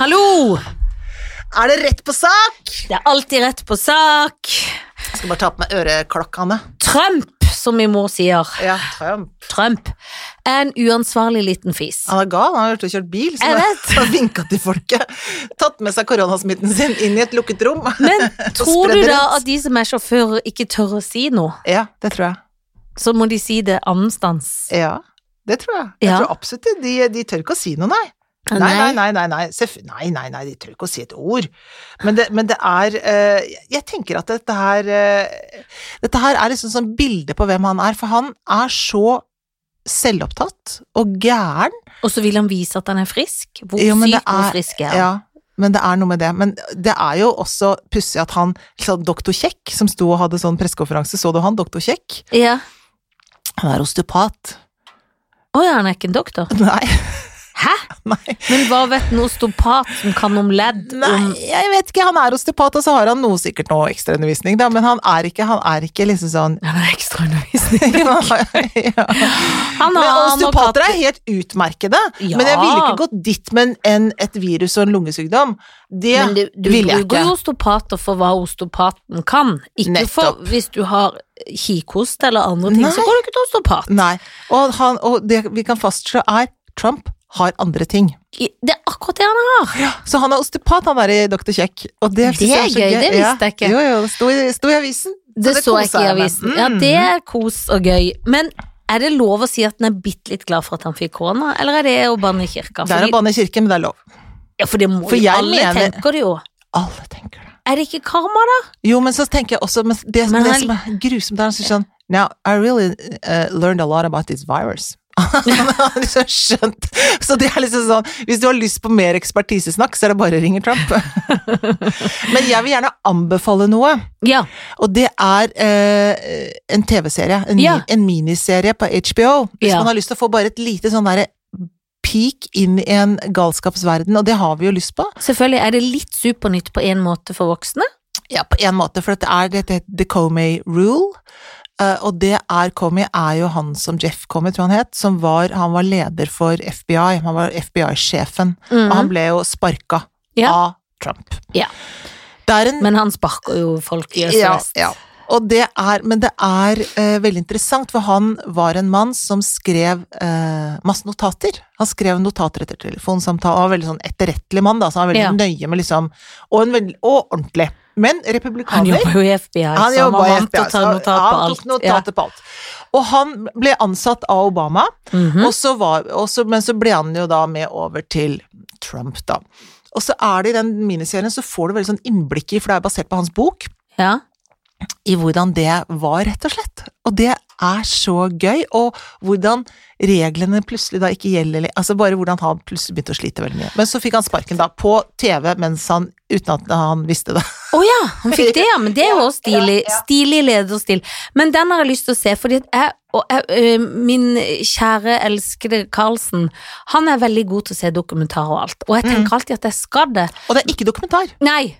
hallo! Er det rett på sak? Det er alltid rett på sak. Jeg skal bare ta på meg øreklokkene. Trump, som min mor sier. Ja, Trump. Trump. En uansvarlig liten fis. Han er gal, han har vært og kjørt bil, så Jeg han vet. har vinka til folket. Tatt med seg koronasmitten sin inn i et lukket rom. Men tror du spredde da rundt. at de som er sjåfører ikke tør å si noe? Ja, det tror jeg. Så må de si det annenstans. Ja, det tror jeg. Jeg Ja. tror absolutt det. De, de tør ikke å si noe, nei. Nei, nei, nei, nei, nei. Seff- nei, nei, nei, de tør ikke å si et ord. Men det, men det er eh, Jeg tenker at dette her eh, Dette her er liksom sånn bilde på hvem han er, for han er så selvopptatt og gæren. Og så vil han vise at han er frisk. Hvor Jo, men det sykt hvor er- frisk er Ja. han? men det er noe med det. Men det er jo også pussig at han sånn, Doktor Kjekk, som sto og hadde sånn pressekonferanse, så du han, doktor Kjekk? Ja. Han er osteopat. Å ja, han er ikke en doktor. Nei, Hæ? nei. Men hva vet en osteopat som kan om ledd? Nei, Om jeg vet ikke. Han er osteopat, og så har han noe sikkert noe ekstraundervisning, da, men han er ikke, han er ikke liksom sånn Han er ekstraundervisning. ja. Han har Men nok hatt Osteopater er helt utmerkede, Ja. men jeg ville ikke gått dit med en, en- et virus og en lungesykdom. Det Men du, du ville jeg bruker ikke. jo osteopater for hva osteopaten kan. Ikke Nettopp. for hvis du har kikhost eller andre ting, så Nei. går du ikke til osteopat. Nei. Og, han, og det vi kan fastslå er Trump har andre ting. I- Det er akkurat det han har. Så han er osteopat, han er i Dr. Kjekk. Og det, synes Det er jeg så gøy, det Ja. visste jeg ikke. Jo, jo, det sto, i- sto i avisen. Det så jeg koser ikke i jeg meg. avisen. Ja, Mm. det er kos og gøy. Men er det lov å si at den er bitte litt glad for at han fikk korona, eller er det å banne i kirka? Det er å Fordi, banne i kirken, men det er lov. ja, for det må for jo jeg alle mener- tenker det jo. Alle tenker det. Er det ikke karma, da? Jo, men så tenker jeg også men Det, Men det han- som er grusomt, er han sier sånn Now, I really uh, learned a lot about this virus. Han har liksom skjønt. Så det er liksom sånn Hvis du har lyst på mer ekspertisesnakk, så er det bare å ringe Trump. men jeg vil gjerne anbefale noe, Ja. og det er eh, en TV-serie. En, mi- Ja. en miniserie på HBO. Hvis Ja. man har lyst til å få bare et lite sånn derre peak inn i en galskapsverden, og det har vi jo lyst på. Selvfølgelig er det litt Supernytt på en måte for voksne. Ja, på en måte, for det er det heter The Comey Rule. eh, og det er Comey er jo han som Jeff Comey, tror jeg han het, som var, han var leder for FBI. Han var FBI-sjefen, og han ble jo sparka Mm. Ja. av Trump. Ja. Det er en Men han sparker jo folk i øst og ja, vest. ja. Og det er, men det er eh, veldig interessant, for han var en mann som skrev eh, masse notater. Han skrev notater etter telefonsamtale, han var veldig sånn etterrettelig mann, da, så han var veldig Ja. nøye med liksom Og, en veld, og ordentlig. Men Han republikaner jobber jo i FBI, han så han jobba var i vant til FBI, å ta så notat på han alt. tok notater på alt. Og han ble ansatt av Obama, Ja. Mhm. og så var, og så, men så ble han jo da med over til Trump, da. Og så er det i den miniserien så får du veldig sånn innblikk i, for det er basert på hans bok, ja. i hvordan det var, rett og slett. Og det er så gøy, og hvordan reglene plutselig da ikke gjelder eller- Altså bare hvordan han plutselig begynte å slite veldig mye. Men så fikk han sparken, da, på TV mens han Uten at han visste det. Å ja, han fikk det, ja. Men det er jo også stilig. Stilig lederstil. Men den har jeg lyst til å se, fordi at jeg og jeg, øh, min kjære, elskede Karlsen, han er veldig god til å se dokumentar og alt. Og jeg tenker alltid at jeg skal det. Og det er ikke dokumentar. Nei!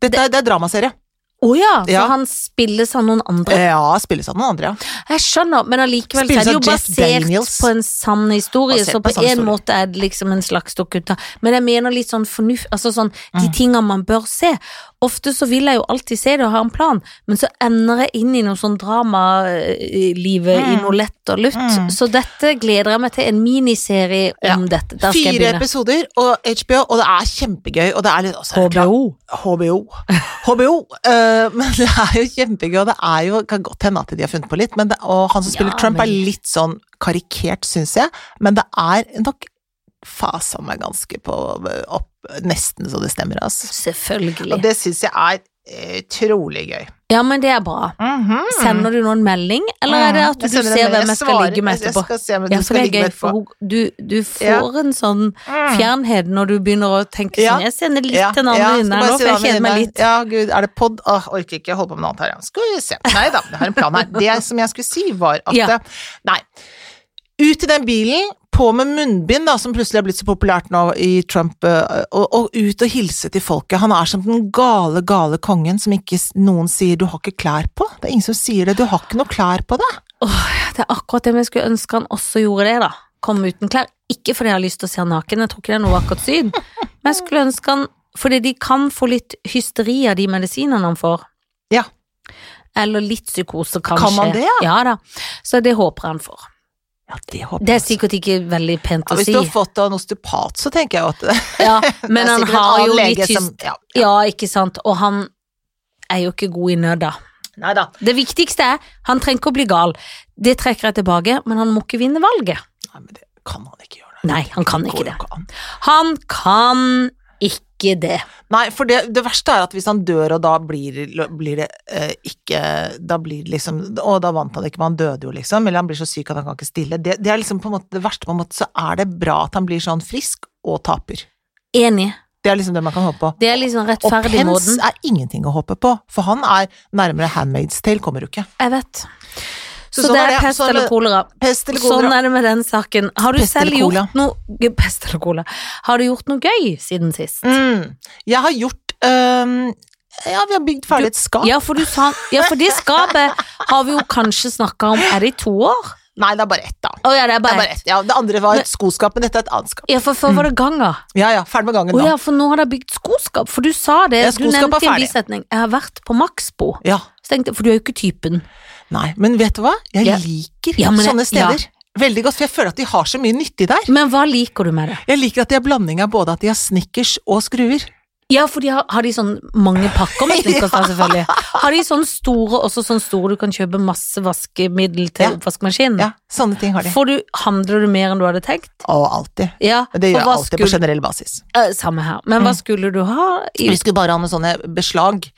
Dette er, det er dramaserie. Å ja, for Ja. han spilles av noen andre. Ja, spilles av noen andre, ja. Jeg skjønner, men allikevel så Spilles er det jo av Jeff basert Daniels. på en sann historie, Basert så på på, sann en historie. måte er det liksom en slags dokumentar. Men jeg mener litt sånn fornuft, altså sånn de Mm. tinga man bør se. Ofte så vil jeg jo alltid se det og ha en plan, men så ender jeg inn i noe sånn dramalivet i Mm. noe lett og lutt. Mm. Så dette gleder jeg meg til, en miniserie om dette. Der skal jeg Fire begynne. episoder og HBO, og det er kjempegøy. Og det er litt altså, også, HBO. HBO. eh, men det er jo kjempegøy, og det er jo, kan godt hende at de har funnet på litt. Men det, og han som spiller Ja, Trump, men- er litt sånn karikert, syns jeg. Men det er nok fasen meg ganske på opp, nesten så det stemmer, altså. Og Selvfølgelig. det syns jeg er utrolig gøy. Ja, men det er bra. Mhm. Sender du noen melding, eller er det at Mm. Jeg du sender en ser melding. hvem jeg skal svarer- ligge med etterpå? Jeg skal se hvem Ja, du for skal det ligge er gøy, med etterpå. for hun- du, du Ja. får en sånn Mm. fjernhet når du begynner å tenke Ja. sånn Jeg sender litt Ja, til en ja, annen venninne skal her nå, bare si for jeg hva med kjeder meg den er. litt. Ja, gud, er det pod? Åh, orker ikke, jeg holder på med noe annet her. ja. Skal vi se. Nei da, jeg har en plan her. Det som jeg skulle si, var at Ja. eh, Nei. Ut i den bilen, på med munnbind, da, som plutselig er blitt så populært nå i Trump, eh, og, og ut og hilse til folket. Han er som den gale, gale kongen som ikke s- noen sier 'du har ikke klær på'. Det er ingen som sier det. 'Du har ikke noe klær på deg'. Det er akkurat det vi skulle ønske han også gjorde det, da. Kom uten klær. Ikke fordi jeg har lyst til å se han naken, jeg tror ikke det er noe vakkert syn. Men jeg skulle ønske han Fordi de kan få litt hysteri av de medisinene han får. Ja. Eller litt psykose, kanskje. Kan man det, ja? Ja da. Så det håper jeg han får. Ja, det håper Det er jeg. sikkert ikke veldig pent Ja, å hvis si. du har fått av en osteopat, så tenker jeg jo at Ja, det er men han sikkert en har annen jo lege litt hysteri. som- ja. Ja, ikke sant. Og han er jo ikke god i nød, da. Nei da. Det viktigste er, han trenger ikke å bli gal. Det trekker jeg tilbake, men han må ikke vinne valget. Nei, men det kan han ikke gjøre. Nei, han kan går ikke jo det. ikke an. Han kan ikke det. Nei, for det, det verste er at hvis han dør, og da blir, blir det eh, ikke Da blir det liksom Å, da vant han ikke, men han døde jo, liksom. Eller han blir så syk at han kan ikke stille. Det, det er liksom på en måte det verste, på en måte, så er det bra at han blir sånn frisk og taper. Enig. Det er liksom det man kan håpe på. Det er liksom Og rettferdig Pence måten. er ingenting å håpe på, for han er nærmere Handmaid's Tale, kommer du ikke. Jeg vet. Så Så, sånn det er er det. pest Sånn eller er- kolera. Pest eller kolera? Sånn er det med den saken. Har du Pest selv eller kolera? gjort noe Pest eller kolera. Har du gjort noe gøy siden sist? Mm. Jeg har gjort øhm, Ja, vi har bygd ferdig et skap. Ja, for, du sa, ja, for det skapet har vi jo kanskje snakka om Er det i to år? Nei, det er bare ett, da. Å ja, det er Det, er bare bare ett. ett. Ja, det andre var Men- et skoskap, men dette er et annet skap. Ja, for før var det ganga. Ja ja, ferdig med gangen Å nå. Mm. ja, for nå har de bygd skoskap. For du sa det, Ja, du skoskap er nevnte i en ferdig. bisetning. Jeg har vært på Maxbo. Ja. Så tenkte jeg, for du er jo ikke typen. Nei, men vet du hva? Jeg Ja. liker Ja, men jeg- sånne steder veldig godt, for jeg føler at de har så mye nyttig der. Men hva liker du med det? Jeg liker at de har blanding av både at de har snickers og skruer. Ja, for de har, har de sånn mange pakker med snickers da, selvfølgelig. Har de sånn store, også sånn store du kan kjøpe masse vaskemiddel til Ja. oppvaskmaskinen? Ja, sånne ting har de. Får du, handler du mer enn du hadde tenkt? Og alltid. Ja, Det for gjør jeg hva alltid på skulle, generell basis. eh, Samme her. Men hva skulle du ha? I, Vi skulle bare ha noen sånne beslag.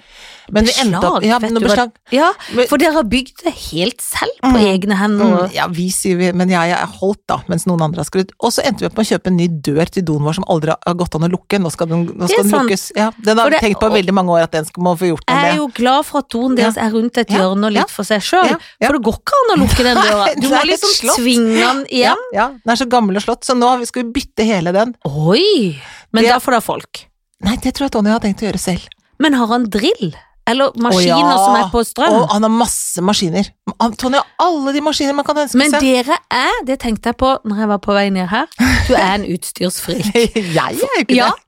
Men vi endte opp Beslag, Ja, vet noen du hva- beslag. ja, Men- for dere har bygd det helt selv på egne hender. Mm, og- ja, vi sier vi, men jeg er holdt da, mens noen andre har skrudd. Og så endte vi opp med å kjøpe en ny dør til doen vår som aldri har gått an å lukke. Nå skal den, nå Det er skal den sant. lukkes. Ja, den For har vi det- tenkt på i veldig mange år at den skal må få gjort noe Jeg er med. jo glad for at doen deres er rundt et Ja, hjørne og ja, litt for seg sjøl, ja, ja. for det går ikke an å lukke den døra. Nei, Du det er må et liksom slott. tvinge den Ja, igjen. ja, den er så gammel og slått, så nå har vi- skal vi bytte hele den. Oi! Men Det- da får da folk. Nei, det tror jeg Tonje har tenkt å gjøre selv. Men har han drill? Eller maskiner Å, ja. som er på strøm? Og han har masse maskiner. Han- Tonje har alle de maskiner man kan ønske Men seg. dere er, det tenkte jeg på når jeg var på vei ned her, du er en utstyrsfri. jeg er jo ikke Ja. det.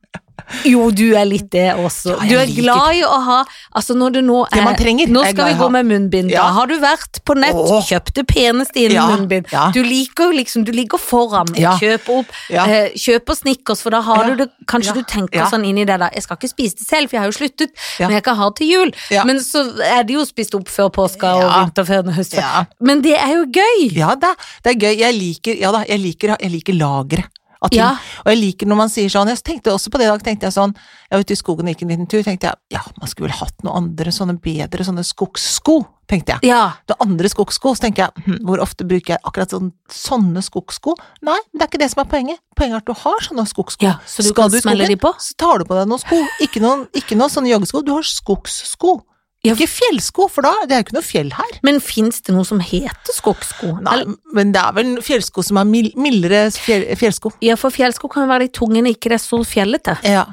Jo, du er litt det også. Ja, jeg Du er liker glad i å ha Altså, når det nå Det er man trenger, Nå er jeg glad skal i vi gå å ha. med munnbind. Ja. Da har du vært på nett, Åh. kjøpt det peneste innen Ja, munnbind. ja. Du liker jo liksom Du ligger foran. Ja. Kjøper opp. Ja. Eh, kjøper snickers, for da har Ja. du det Kanskje Ja. du tenker Ja. sånn inni deg da Jeg skal ikke spise det selv, for jeg har jo sluttet, Ja. men jeg kan ha til jul. Ja. Men så er det jo spist opp før påska og Ja. vinterferien og høstferien. Ja. Men det er jo gøy! Ja da, det er gøy. Jeg liker, ja da, jeg liker, jeg liker lageret. av ting. Ja. Og jeg liker når man sier sånn, jeg tenkte også på det i dag, tenkte jeg sånn, jeg var ute i skogen og gikk en liten tur, tenkte jeg, ja, man skulle vel hatt noen andre sånne bedre, sånne skogssko, tenkte jeg. Ja. Det andre skogssko, så tenker jeg, hm, hvor ofte bruker jeg akkurat sånn, sånne skogssko? Nei, det er ikke det som er poenget. Poenget er at du har sånne skogssko. Ja, så du Skal kan i smelle skogen, de på? Så tar du på deg noen sko. Ikke noen, ikke noen sånne joggesko, du har skogssko. Ja. Ikke fjellsko, for da, det er jo ikke noe fjell her. Men fins det noe som heter skogssko? Nei, men det er vel fjellsko som er mild, mildere fjell, fjellsko. Ja, for fjellsko kan jo være litt tunge når ikke det er så fjellete. Ja.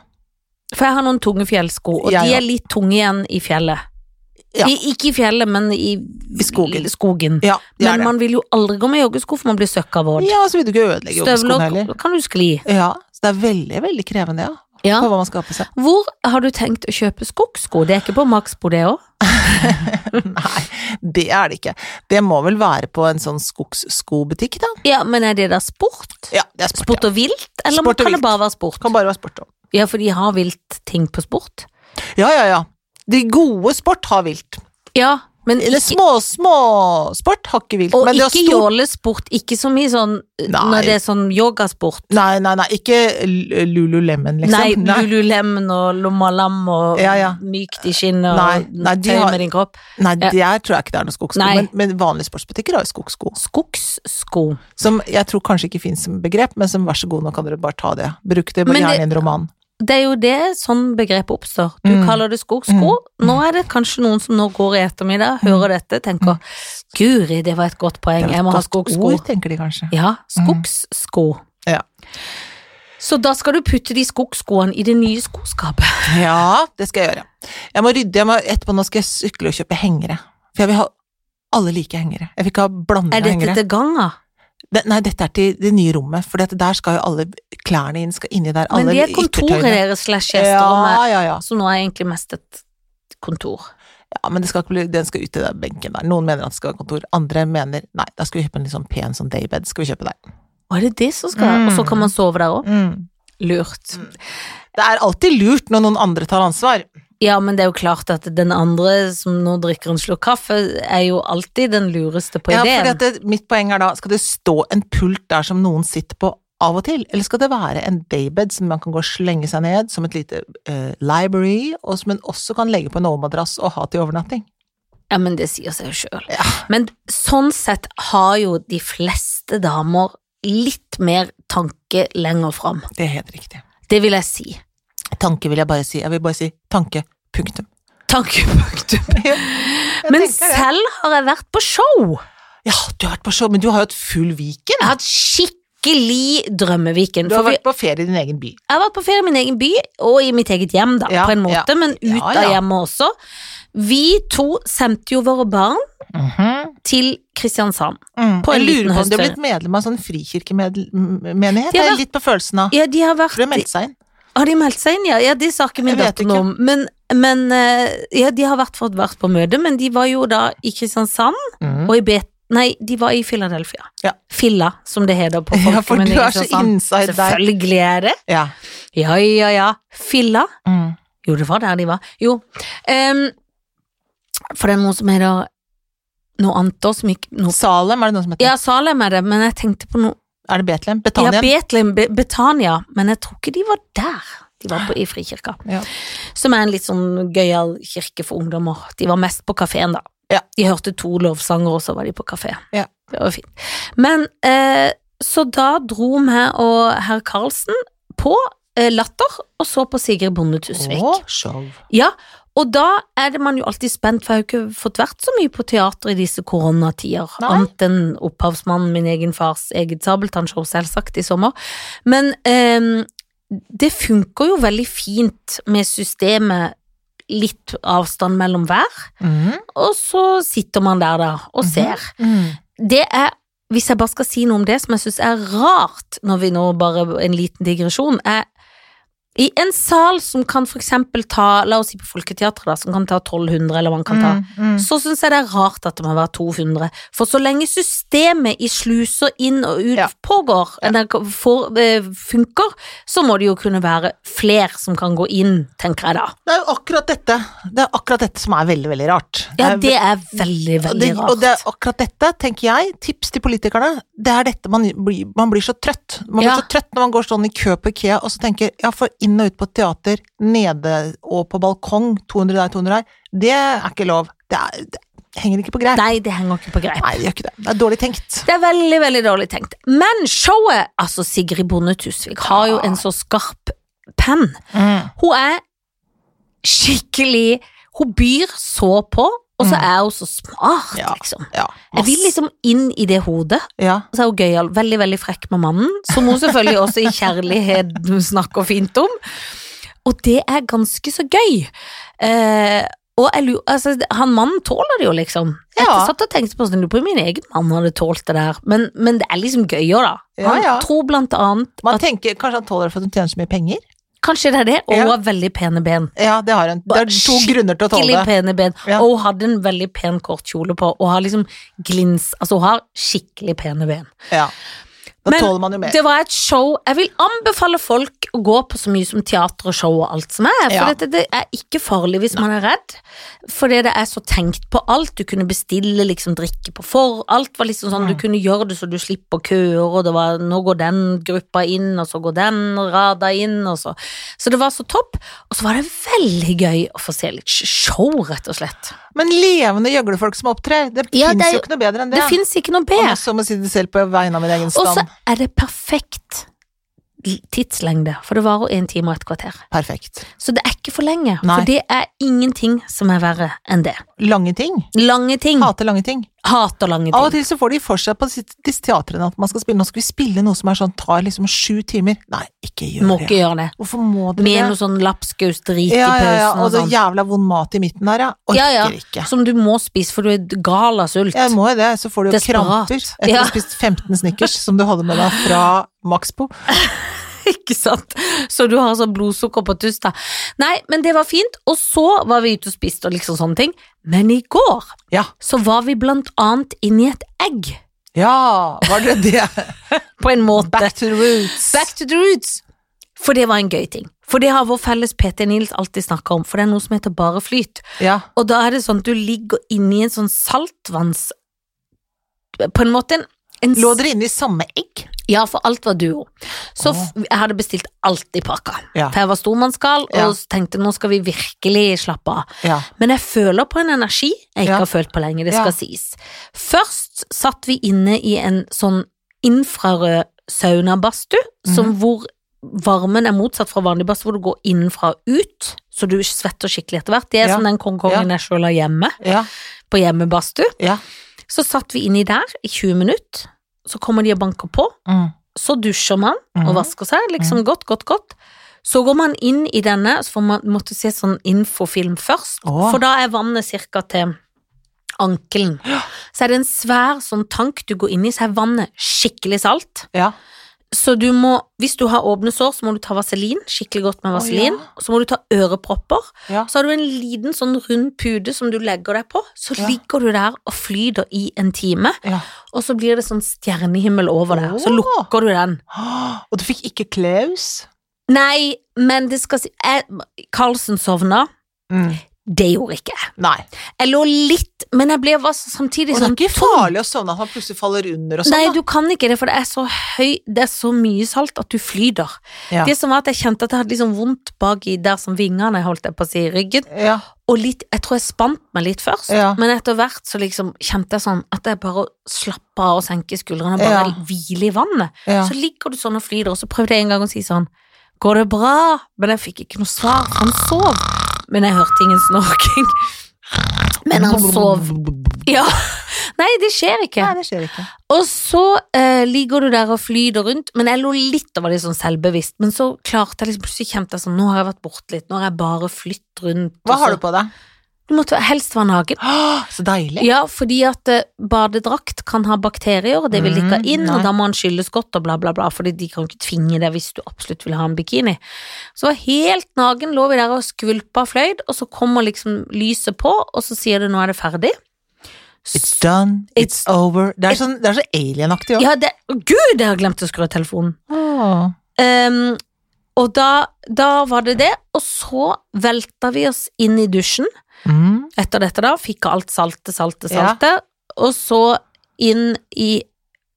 For jeg har noen tunge fjellsko, og Ja, de ja. er litt tunge igjen i fjellet. Ja. I, ikke i fjellet, men i, I skogen. skogen. ja det er men det. man vil jo aldri gå med joggesko, for man blir søkkavåt. Ja, så vil du ikke ødelegge joggeskoene Støvler heller. kan du skli. Ja, så det er veldig, veldig krevende, ja. Ja. På hva man skal ha på seg. Hvor har du tenkt å kjøpe skogsko? Det er ikke på Maxbo, det òg? Nei, det er det ikke. Det må vel være på en sånn skogsskobutikk, da. Ja, men er det der sport? Ja, det er sport. Sport ja. og vilt, eller Sport og kan det vilt. bare være sport? Kan bare være sport òg. Ja, for de har vilt-ting på sport. Ja, ja, ja. De gode sport har vilt. Ja, men Eller ikke, små, små sport har ikke vilt. og men det å ikke stor- jålesport, ikke som i sånn Nei. når det er sånn yogasport. Nei, nei, nei, ikke l- Lululemon, liksom. Nei, lululemon og lommalam og Ja, ja. mykt i skinnet Nei, og nei, de tøy har- med din kropp. Nei, der tror jeg ikke det er noen skogsko. Nei. Men, men vanlige sportsbutikker har jo skogsko. Skogssko. Som jeg tror kanskje ikke finnes som begrep, men som vær så god, nå kan dere bare ta det. Bruk det Men bare det- gjerne i en roman. Det er jo det sånn begrepet oppstår. Du Mm. Mm. kaller det skogsko. Nå er det kanskje noen som nå går i ettermiddag, hører dette, tenker Guri, det var et godt poeng, Det er jeg et må ha godt skogsko. Ord, Mm. tenker de kanskje. Ja, skogssko. Ja. Så da skal du putte de skogsskoene i det nye skoskapet. Ja, det skal jeg gjøre. Jeg må rydde, jeg må, etterpå nå skal jeg sykle og kjøpe hengere. For jeg vil ha alle like hengere. Jeg vil ikke ha Er blandede dette hengere. til ganga? Ne- Nei, dette er til det nye rommet, for der skal jo alle klærne inn, skal inni der. Men Alle det er kontoret yttertøyene. deres slash gjesterommet, Ja, ja, ja. som nå er egentlig mest et kontor. ja. Men det skal ikke bli, den skal ut til den benken der. Noen mener at det skal være kontor, andre mener nei, da skal vi kjøpe en litt sånn pen sånn daybed. Skal vi kjøpe der. Og er det det som skal Og så kan Mm. man sove der Mm. òg? Lurt. Det er alltid lurt når noen andre tar ansvar. Ja, men det er jo klart at den andre som nå drikker en slurk kaffe, er jo alltid den lureste på Ja, ideen. fordi at det, mitt poeng er da, skal det stå en pult der som noen sitter på av og til, eller skal det være en daybed som man kan gå og slenge seg ned, som et lite eh, library, og som en også kan legge på en overmadrass og ha til overnatting? Ja, men det sier seg jo sjøl. Ja. Men sånn sett har jo de fleste damer litt mer tanke lenger fram. Det er helt riktig. Det vil jeg si. Tanke vil jeg bare si. Jeg vil bare si tanke. Punktum. Tankepunktum. Jeg Men tenker det. selv har jeg vært på show. Ja, du har vært på show, men du har jo et full Viken. Jeg har hatt skikkelig Drømmeviken. Du har For vi, vært på ferie i din egen by. jeg har vært på ferie i min egen by, og i mitt eget hjem, da, Ja, på en måte, men ut Ja, ja. av hjemmet også. Vi to sendte jo våre barn til Kristiansand. Mm. På Mhm, en jeg liten lurer på om de har høstferie. blitt medlem av en sånn frikirkemenighet. De Det har er vært- litt på følelsen av. Ja, de har vært For de meldte seg inn. Har de meldt seg inn? Ja, ja det sa ikke min Jeg vet datter noe om. Men, men eh, ja, de har vært, fått vært på møte, men de var jo da i Kristiansand Mm. og i Bet... Nei, de var i Philadelphia. Ja. Filla, som det heter på Ja, for folkemunne du i er så Kristiansand. inside der. Selvfølgelig er det. Ja. Ja, ja, ja. Filla. Mm. Jo, det var der de var. Jo. ehm, for det er noe som heter noe annet også, som gikk noe Salem, er det noe som heter? Ja, Salem er det, men jeg tenkte på noe Er det Betlehem? Ja, Betania? Betlehem, Be Betania, men jeg tror ikke de var der. De var på, i Frikirka. Ja. Som er en litt sånn gøyal kirke for ungdommer. De var mest på kafeen, da. Ja. De hørte to lovsanger, og så var de på kafé. Ja. Det var fint. Men eh, så da dro vi og herr Karlsen på eh, Latter, og så på Sigrid Bonde Tusvik. Å, show. Ja, og da er det man jo alltid spent, for jeg har jo ikke fått vært så mye på teater i disse koronatider. Nei. Annet enn opphavsmannen, min egen fars eget sabeltannshow, selvsagt, i sommer. Men ehm, det funker jo veldig fint med systemet litt avstand mellom hver, Mm. og så sitter man der da og Mhm. ser. Det er, hvis jeg bare skal si noe om det som jeg synes er rart, når vi nå bare en liten digresjon, er i en sal som kan for eksempel ta, la oss si på Folketeatret da, som kan ta 1200 eller hva man kan ta, Mm. så synes jeg det er rart at det må være 200. For så lenge systemet i sluser inn og ut Ja. pågår, eller får, eh, funker, så må det jo kunne være flere som kan gå inn, tenker jeg da. Det er jo akkurat dette Det er akkurat dette som er veldig, veldig rart. Ja, Det det er veldig, er- Eh, og veldig det, og det er rart. akkurat dette, tenker jeg, tips til politikerne, det er dette man blir, man blir så trøtt. Man blir Ja. så trøtt når man går sånn i kø på IKEA og så tenker ja, for inn og ut på teater, nede og på balkong, 200 der, 200 der, det er ikke lov. Det, er, det henger ikke på greip. Nei, det henger ikke på greip. Nei, det gjør ikke det. Det er dårlig tenkt. Det er veldig, veldig dårlig tenkt. Men showet, altså Sigrid Bonde Tusvik, har jo en så skarp penn. Hun er skikkelig Hun byr så på, og så Mm. er hun så smart, Ja. liksom. Ja, Jeg vil liksom inn i det hodet. ja. Og så er hun gøyal. Veldig, veldig frekk med mannen, som hun selvfølgelig også i kjærlighet snakker fint om. Og det er ganske så gøy. Eh, og jeg lurer, altså, han mannen tåler det jo, liksom. Jeg Ja. satt og tenkte på sånn, jeg lurer på om min egen mann hadde tålt det der. Men, men det er liksom gøy òg, da. Ja, Han ja. tror blant annet Man tenker kanskje han tåler det for at hun tjener så mye penger? Kanskje det er det, og Ja. hun har veldig pene ben. Ja, det har hun. Det er to Skikkelig grunner til å Skikkelig tåle det. pene ben. Ja. Og hun hadde en veldig pen kort kjole på, og har liksom glins Altså, hun har skikkelig pene ben. Ja. Da Men tåler man jo mer. Det var et show Jeg vil anbefale folk å gå på så mye som teater og show og alt som er. For Ja. dette, det er ikke farlig hvis man er redd. Fordi det er så tenkt på alt. Du kunne bestille liksom drikke på for. Alt var liksom Mm. sånn, du kunne gjøre det så du slipper køer, og det var nå går den gruppa inn, og så går den rada inn, og så Så det var så topp. Og så var det veldig gøy å få se litt show, rett og slett. Men levende gjøglefolk som opptrer, det Ja, det fins er jo jo- ikke noe bedre enn det. Det fins ikke noe Og bedre. nå så må jeg si det selv på vegne av min egen Og så stand. er det perfekt tidslengde, for det varer en time og et kvarter. Perfekt. Så det er ikke for lenge, Nei. for det er ingenting som er verre enn det. Lange ting. Lange ting. Mm. Hater lange ting. Hater lange Av og ting. til så får de for seg på disse disse teatrene at man skal spille, nå skal vi spille noe som er sånn, tar liksom sju timer. Nei, ikke gjør Må det. ikke gjøre det. Hvorfor må dere Med det? noe sånn lapskaus-drit Ja, i ja, ja, pausen og og så sånn. jævla vond mat i midten her, ja. Orker Ja, ja. ikke. Som du må spise, for du er gal av sult. Jeg må jo det, så får du jo Desperat. kramper etter å Ja. ha spist 15 snickers som du hadde med deg fra Maxbo. Ikke sant? Så du har sånn blodsukker på tusta. Nei, men det var fint, og så var vi ute og spiste og liksom sånne ting. Men i går Ja. så var vi blant annet inni et egg, Ja, var det det? på en måte. Back to the roots. Back to the roots! For det var en gøy ting. For det har vår felles PT Nils alltid snakka om, for det er noe som heter bare flyt. Ja. Og da er det sånn at du ligger inni en sånn saltvanns... På en måte en, en Lå dere inne i samme egg? Ja, for alt var duo. Så Åh. f- jeg hadde bestilt alt i pakka. Ja. For jeg var stormannsgal og Ja. tenkte nå skal vi virkelig slappe av. Ja. Men jeg føler på en energi jeg ikke Ja. har følt på lenge, det Ja. skal sies. Først satt vi inne i en sånn infrarød saunabadstue, som Mhm. hvor varmen er motsatt fra vanlig badstue, hvor du går innenfra og ut, så du svetter skikkelig etter hvert. Det er Ja. som den kongen jeg sjøl har hjemme, Ja. på hjemmebadstue. Ja. Så satt vi inni der i 20 minutter, så kommer de og banker på. Mm. Så dusjer man og Mhm. vasker seg, liksom godt, godt, godt. Så går man inn i denne, så får man måtte se sånn infofilm først, Åh. for da er vannet cirka til ankelen. Så er det en svær sånn tank du går inn i, så er vannet skikkelig salt. ja. Så du må, hvis du har åpne sår, så må du ta vaselin, skikkelig godt med Å, vaselin. ja. og Så må du ta ørepropper. Ja. Så har du en liten sånn rund pude som du legger deg på, så Ja. ligger du der og flyter i en time, ja. og så blir det sånn stjernehimmel over deg, så Åh. lukker du den. Åh, Og du fikk ikke klaus? Nei, men det skal si jeg, Carlsen sovna. Mm. Det gjorde ikke jeg. Nei. Jeg lå litt, men jeg ble var så- samtidig Og det er sånn ikke farlig å sovne at man plutselig faller under og sånn. Nei, da. du kan ikke det, for det er så høy Det er så mye salt at du flyter. Ja. Det som var at jeg kjente at jeg hadde liksom vondt bak i der som vingene holdt jeg på å si, ryggen. Ja. Og litt Jeg tror jeg spant meg litt først, Ja. men etter hvert så liksom kjente jeg sånn at jeg bare slappa av og senke skuldrene og bare Ja. hvile i vannet. Ja. Så ligger du sånn og flyter, og så prøvde jeg en gang å si sånn Går det bra? Men jeg fikk ikke noe svar. Han sov. Men jeg hørte ingen snorking. Men han sov. Ja. Nei, det skjer ikke. Nei, det skjer ikke. Og så eh, ligger du der og flyter rundt, men jeg lå litt og var litt sånn selvbevisst. Men så klarte jeg liksom plutselig kjente jeg sånn Nå har jeg vært borte litt. Nå har jeg bare flytt rundt. Hva har du på deg? Du måtte helst være naken. Åh, Så deilig. Ja, fordi at eh, badedrakt kan ha bakterier, og det vil de ikke ha Mm, inn, nei. og da må han skylles godt og bla, bla, bla, fordi de kan ikke tvinge deg hvis du absolutt vil ha en bikini. Så helt nagen lå vi der og skvulpa fløyd, og så kommer liksom lyset på, og så sier det nå er det ferdig. It's done, it's, over. Det er sånn, det er så alienaktig òg. Ja, det, å, gud, jeg har glemt å skru av telefonen. Ehm, og da, da var det det, og så velta vi oss inn i dusjen. Mm. Etter dette da, fikk alt salte, salte, Ja. salte, og så inn i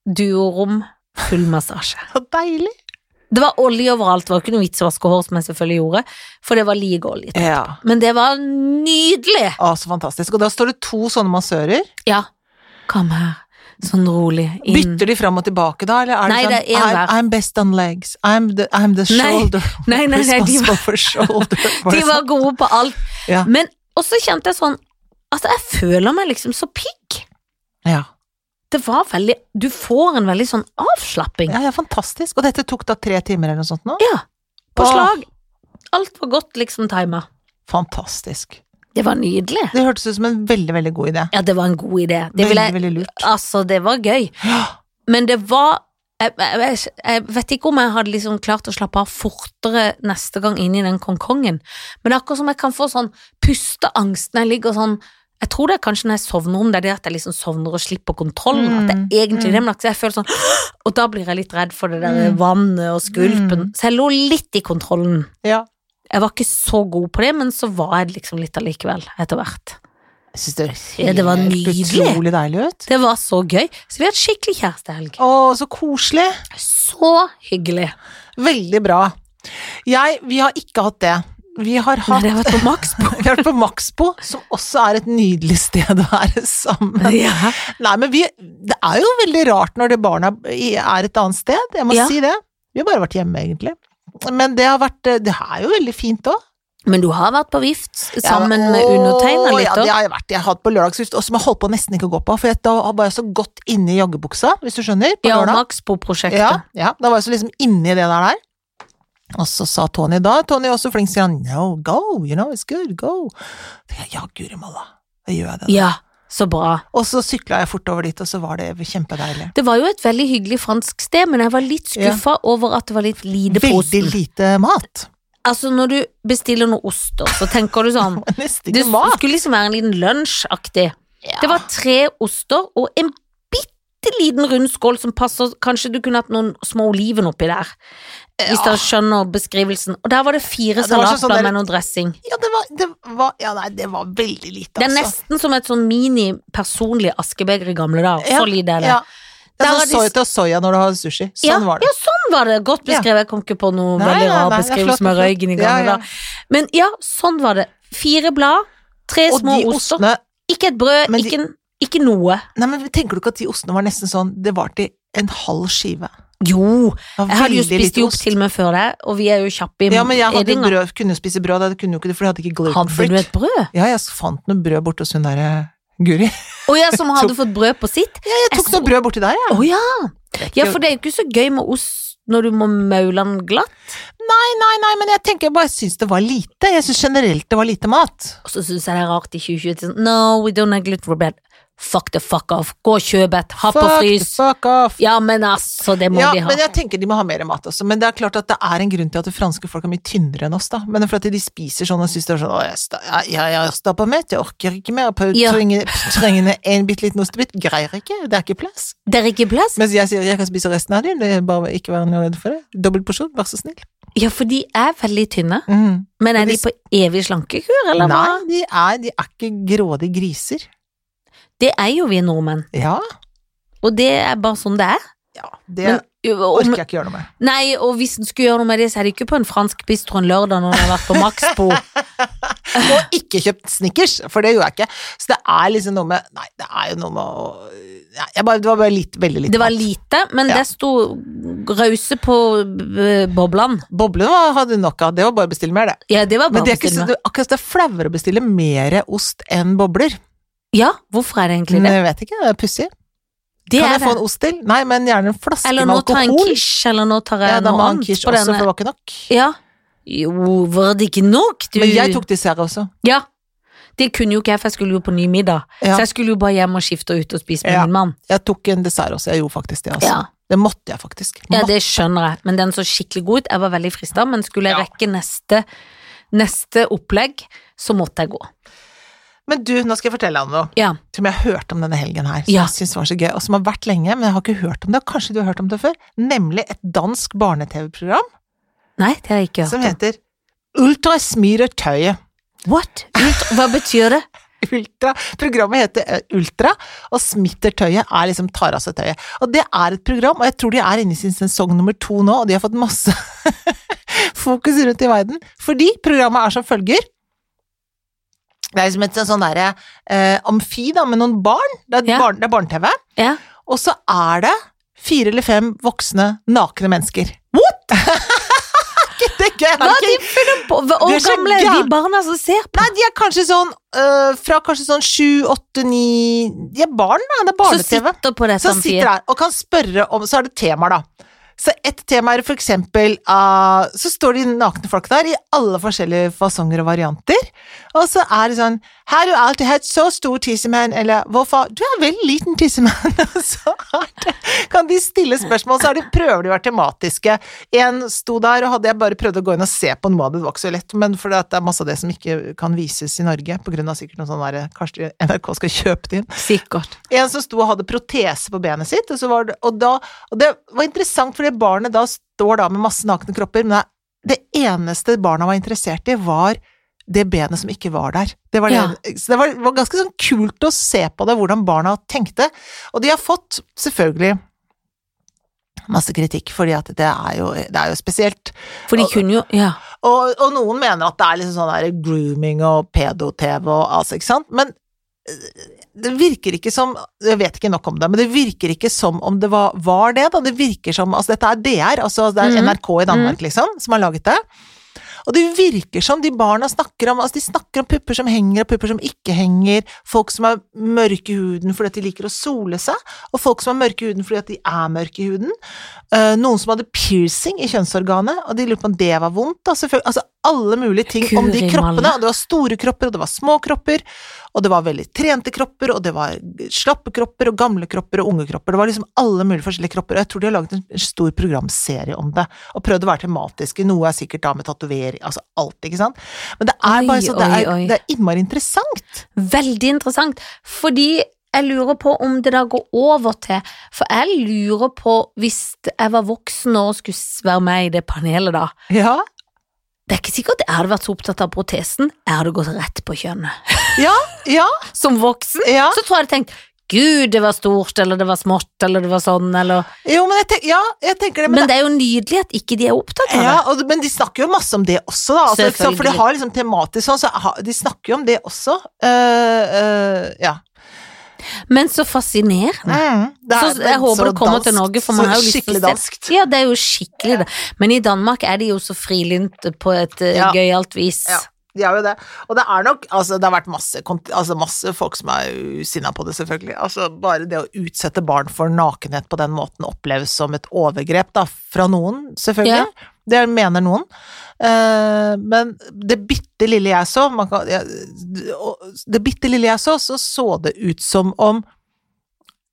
duorom, full massasje. Så deilig. Det var olje overalt, det var ikke noe vits i å vaske hår, som jeg selvfølgelig gjorde, for det var like olje. Ja. Men det var nydelig! Å, så fantastisk. Og da står det to sånne massører. Ja, kom her, sånn rolig inn. Bytter de fram og tilbake da, eller er det Nei, sånn det er en I'm, hver. I'm best on legs, I'm the, I'm the Nei. shoulder Nei, nei, nei, de var, responsible for shoulder. Var de det var gode på alt. Ja. Men også kjente jeg sånn, altså jeg føler meg liksom så pigg. sånn? ja. Det var veldig, du får en veldig sånn avslapping. ja, det er fantastisk. Og dette tok da tre timer eller noe sånt nå? Ja, på Åh. slag. Alt var godt liksom timet. Fantastisk. Det var nydelig. Det hørtes ut som en veldig, veldig god idé. Ja, det var en god idé. Det Veldig, ville jeg, veldig lurt. altså, det var gøy. Ja. Men det var jeg, jeg, jeg- jeg vet ikke om jeg hadde liksom klart å slappe av fortere neste gang inn i den konkongen, men det er akkurat som jeg kan få sånn pusteangst når jeg ligger sånn Jeg tror det er kanskje når jeg sovner om det, er det at jeg liksom sovner og slipper kontrollen. At det er egentlig mm. det, men at jeg føler sånn Og da blir jeg litt redd for det der Mm. vannet og skvulpen. Mm. Så jeg lå litt i kontrollen. ja. Jeg var ikke så god på det, men så var jeg liksom litt allikevel, etter hvert. Jeg syns det høres Ja, det var helt nydelig. utrolig deilig ut. Det var så gøy. Så vi hadde skikkelig kjærestehelg. Å, så koselig. Så hyggelig. Veldig bra. Jeg, vi har ikke hatt det. Vi har Nei, hatt det har vært på maks på. vi har vært på Maxbo, som også er et nydelig sted å være sammen. ja. Nei, men vi, det er jo veldig rart når det barna i- er et annet sted, jeg må Ja. si det. Vi har bare vært hjemme, egentlig. Men det har vært Det er jo veldig fint òg. Men du har vært på vift Ja, sammen men- med Åh, undertegna litt Ja, òg? det har jeg vært. Jeg har hatt på lørdagsvift, og som jeg holdt på nesten ikke å gå på, for jeg, da var jeg så godt inne i joggebuksa, hvis du skjønner, på Ja, lørdag. Max Pro-prosjektet. Ja, ja, da var jeg så liksom inni det der der. Og så sa Tony da, Tony er også flink, sier han, no, go, you know, it's good, go. Så jeg, ja, guri malla, da gjør jeg det. da. Ja, så bra. Og så sykla jeg fort over dit, og så var det kjempedeilig. Det var jo et veldig hyggelig fransk sted, men jeg var litt skuffa over at det var litt lite på Veldig osten. lite mat. Altså, når du bestiller noe ost, da, så tenker du sånn Nesten Det ikke mat. skulle liksom være en liten lunsjaktig. Ja. Det var tre oster og en bitte liten rund skål som passer Kanskje du kunne hatt noen små oliven oppi der, hvis dere skjønner beskrivelsen. Og der var det fire Ja, det var sånn salatblad der- med noe dressing. Ja, det var, det var, ja, nei, det var veldig lite, Det er altså. nesten som et sånn mini personlig askebeger i gamle dager. Ja, Så lite er det. Ja. Det Der er var sånn de- soya til soya når du har sushi. Sånn Ja, var det. ja, sånn var det. Godt beskrevet. Jeg kom ikke på noe Nei, veldig nei, rar nei, det er flott, beskrivelse med det er røyken i Ja, gamle ja. dager. Men ja, sånn var det. Fire blad, tre Og små de oster. ostene Ikke et brød, Men de- ikke, en- ikke noe. Nei, men tenker du ikke at de ostene var nesten sånn Det var til en halv skive. Jo, Det var jeg hadde jo veldig spist lite de opp ost. til meg før det, og vi er jo kjappe i Ja, men jeg hadde edinga. brød, kunne spise brød, det kunne jo ikke det, for de hadde ikke gluten Hadde du free. et brød? Ja, jeg fant noe brød borte hos hun derre Guri. Å ja, som hadde fått brød på sitt? Ja, jeg tok så- noe brød borti der, jeg. Å ja. Det er ja, ikke- for det er jo ikke så gøy med ost når du må maule den glatt. Nei, nei, men jeg tenker jeg bare syns det var lite. Jeg syns generelt det var lite mat. Og så syns jeg det er rart i 2020 til sånn, No, we don't have gluten bread. Fuck the fuck off. Gå og kjøp et. Ha på Fuck, frys. fuck off. Ja, men altså, det må Ja, de ha. men jeg tenker de må ha mer mat også. Men det er klart at det er en grunn til at det franske folk er mye tynnere enn oss, da. Men det er for at de spiser sånn og syns det er sånn Å, jeg, sta, jeg, jeg, jeg stapper meg, jeg orker ikke mer. på- Ja. Trenger, trenger en bitte liten ostebit. Greier ikke, det er ikke plass. Det er ikke plass. Mens jeg sier jeg kan spise resten av din, det er bare ikke vær noe redd for det. Dobbel porsjon, vær så snill. Ja, for de er veldig tynne. Mm. Men er Men de på de- evig slankekur, eller Nei, hva? de er, de er ikke grådige griser. Det er jo vi nordmenn. Ja, Og det er bare sånn det er. ja det Men, jo, om, orker jeg ikke gjøre noe med. nei, og hvis en skulle gjøre noe med det, så er det ikke på en fransk bistro en lørdag når en har vært på Maxbo. Og ikke kjøpt snickers, for det gjorde jeg ikke. Så det er liksom noe med Nei, det er jo noe med å Nei, jeg bare, Det var bare litt, veldig litt Det var mat. lite, men Ja. det sto rause på eh, boblene. Boblene var- hadde du nok av, det var bare å bestille mer, det. Ja, det var Men bare det er, å ikke, bestille så- meg. det er akkurat det er flauere å bestille mer ost enn bobler. Ja, hvorfor er det egentlig det? Men jeg vet ikke, det er pussig. Det Kan er jeg få det. en ost til? Nei, men gjerne en flaske Eller med nå tar jeg en alkohol. quiche, eller nå tar jeg Ja, da må noe ha en annet quiche på også, for denne. det var ikke nok. Ja. Jo, var det ikke nok, du? Men jeg tok dessert også. Ja. Det kunne jo ikke jeg, for jeg skulle jo på ny middag. Ja. Så jeg skulle jo bare hjem og skifte og ut og spise med Ja. min mann. Jeg tok en dessert også, jeg gjorde faktisk det. Altså. Ja. Det måtte jeg faktisk. ja, Måtte. det skjønner jeg. Men den så skikkelig god ut. Jeg var veldig frista, men skulle jeg Ja. rekke neste, neste opplegg, så måtte jeg gå. Men du, nå skal jeg fortelle deg om noe. Ja. som jeg har hørt om denne helgen her, som Ja. jeg syns var så gøy, og som har vært lenge, men jeg har ikke hørt om det, og kanskje du har hørt om det før, nemlig et dansk barne-TV-program Nei, det har jeg ikke som hørt om. heter Ultrasmyre tøyet. What? Ult- Hva betyr det? Ultra, programmet heter eh, Ultra, og Smittertøyet er liksom tar av seg tøyet. Og det er et program, og jeg tror de er inne i sin sesong nummer to nå, og de har fått masse fokus rundt i verden, fordi programmet er som følger. Det er liksom et sånn derre eh, amfi da, med noen barn. Det er, Ja. barn, det er barne-TV. Ja. Og så er det fire eller fem voksne nakne mennesker. What?! Ikke det gøy? Er Hva det ikke- de finner på? Hva Det og er så gamle de gærent. barna som ser på? Nei, de er kanskje sånn øh, fra kanskje sånn sju, åtte, ni De er barn, da. Det er Som barne-TV. sitter på det Som sitter samtidig. her og kan spørre om Så er det temaer, da. Så ett tema er for eksempel ah, Så står de nakne folk der i alle forskjellige fasonger og varianter. Og så er det sånn 'Har du alltid hatt så stor tissemann?' eller 'Hvorfor?' 'Du er veldig liten tissemann.' Og så er det, kan de stille spørsmål, så er de, prøver de å være tematiske. En sto der, og hadde jeg bare prøvd å gå inn og se på noe av det, det var ikke så lett, men for det at det er masse av det som ikke kan vises i Norge, på grunn av sikkert noe sånn der Kanskje NRK skal kjøpe det inn. Sikkert. En som sto og hadde protese på benet sitt, og, så var det, og, da, og det var interessant, fordi barnet da står da med masse nakne kropper, men det det eneste barna var interessert i, var det benet som ikke var der. Det var, det, så det var, var ganske sånn kult å se på det, hvordan barna tenkte. Og de har fått, selvfølgelig, masse kritikk, fordi at det er jo, det er jo spesielt. For de kunne jo Ja. Og, og noen mener at det er liksom sånn der grooming og pedo-TV og altså, ikke sant? Men øh, det virker ikke som Jeg vet ikke nok om det, men det virker ikke som om det var, var det, da. Det virker som Altså, dette er DR, altså det er Mhm. NRK i Danmark, liksom, som har laget det. Og det virker som de barna snakker om altså de snakker om pupper som henger, og pupper som ikke henger, folk som er mørke i huden fordi at de liker å sole seg, og folk som er mørke i huden fordi at de er mørke i huden. Eh, noen som hadde piercing i kjønnsorganet, og de lurte på om det var vondt. Da, selvfølgelig. altså alle mulige ting om de Guri kroppene. malla. Og det var store kropper, og det var små kropper, og det var veldig trente kropper, og det var slappe kropper, og gamle kropper, og unge kropper. Det var liksom alle mulige forskjellige kropper, og jeg tror de har laget en stor programserie om det, og prøvd å være tematiske. Noe er sikkert da med tatovering, altså alt, ikke sant. Men det Oi, er bare så det oi, er, oi. det er innmari interessant. Veldig interessant, fordi jeg lurer på om det da går over til For jeg lurer på, hvis jeg var voksen og skulle s- være med i det panelet da Ja. Det er ikke sikkert jeg hadde vært så opptatt av protesen. Jeg hadde gått rett på kjønnet. Ja, ja, Som voksen ja. så tror jeg jeg hadde tenkt Gud, det var stort, eller det var smått, eller det var sånn, eller Jo, men jeg, tenk, ja, jeg tenker det, men, Men det er jo nydelig at ikke de er opptatt av det. Ja, og, men de snakker jo masse om det også, da. Altså, ikke sant? for de Selvfølgelig. har liksom tematisk sånn, så ha- de snakker jo om det også. Eh, eh, ja. Men så fascinerende. Mm, det er- så jeg håper så det kommer til danskt, Norge, for så man har jo lyst til Skikkelig å se danskt. Ja, det er jo skikkelig det. Men i Danmark er de jo så frilynt på et eh, Ja. gøyalt vis. Ja. De er jo det. Og det er nok altså, Det har vært masse, kont- altså, masse folk som er sinna på det, selvfølgelig. Altså, bare det å utsette barn for nakenhet på den måten oppleves som et overgrep, da. Fra noen, selvfølgelig. Ja. Det mener noen. Eh, men det bitte lille jeg så man kan, ja, d- og- Det bitte lille jeg så, så så det ut som om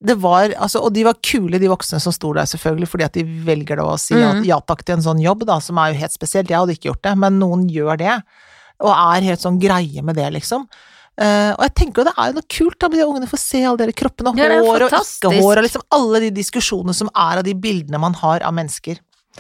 det var, altså, og de var kule, de voksne som sto der, selvfølgelig, fordi at de velger da å si ja, Mhm. ja takk til en sånn jobb, da, som er jo helt spesielt. Jeg hadde ikke gjort det, men noen gjør det, og er helt sånn greie med det, liksom. Eh, og jeg tenker jo det er jo noe kult da, med de ungene får se alle de der kroppene, og Ja, det er jo hår og fantastisk. ikke-hår, og liksom alle de diskusjonene som er av de bildene man har av mennesker.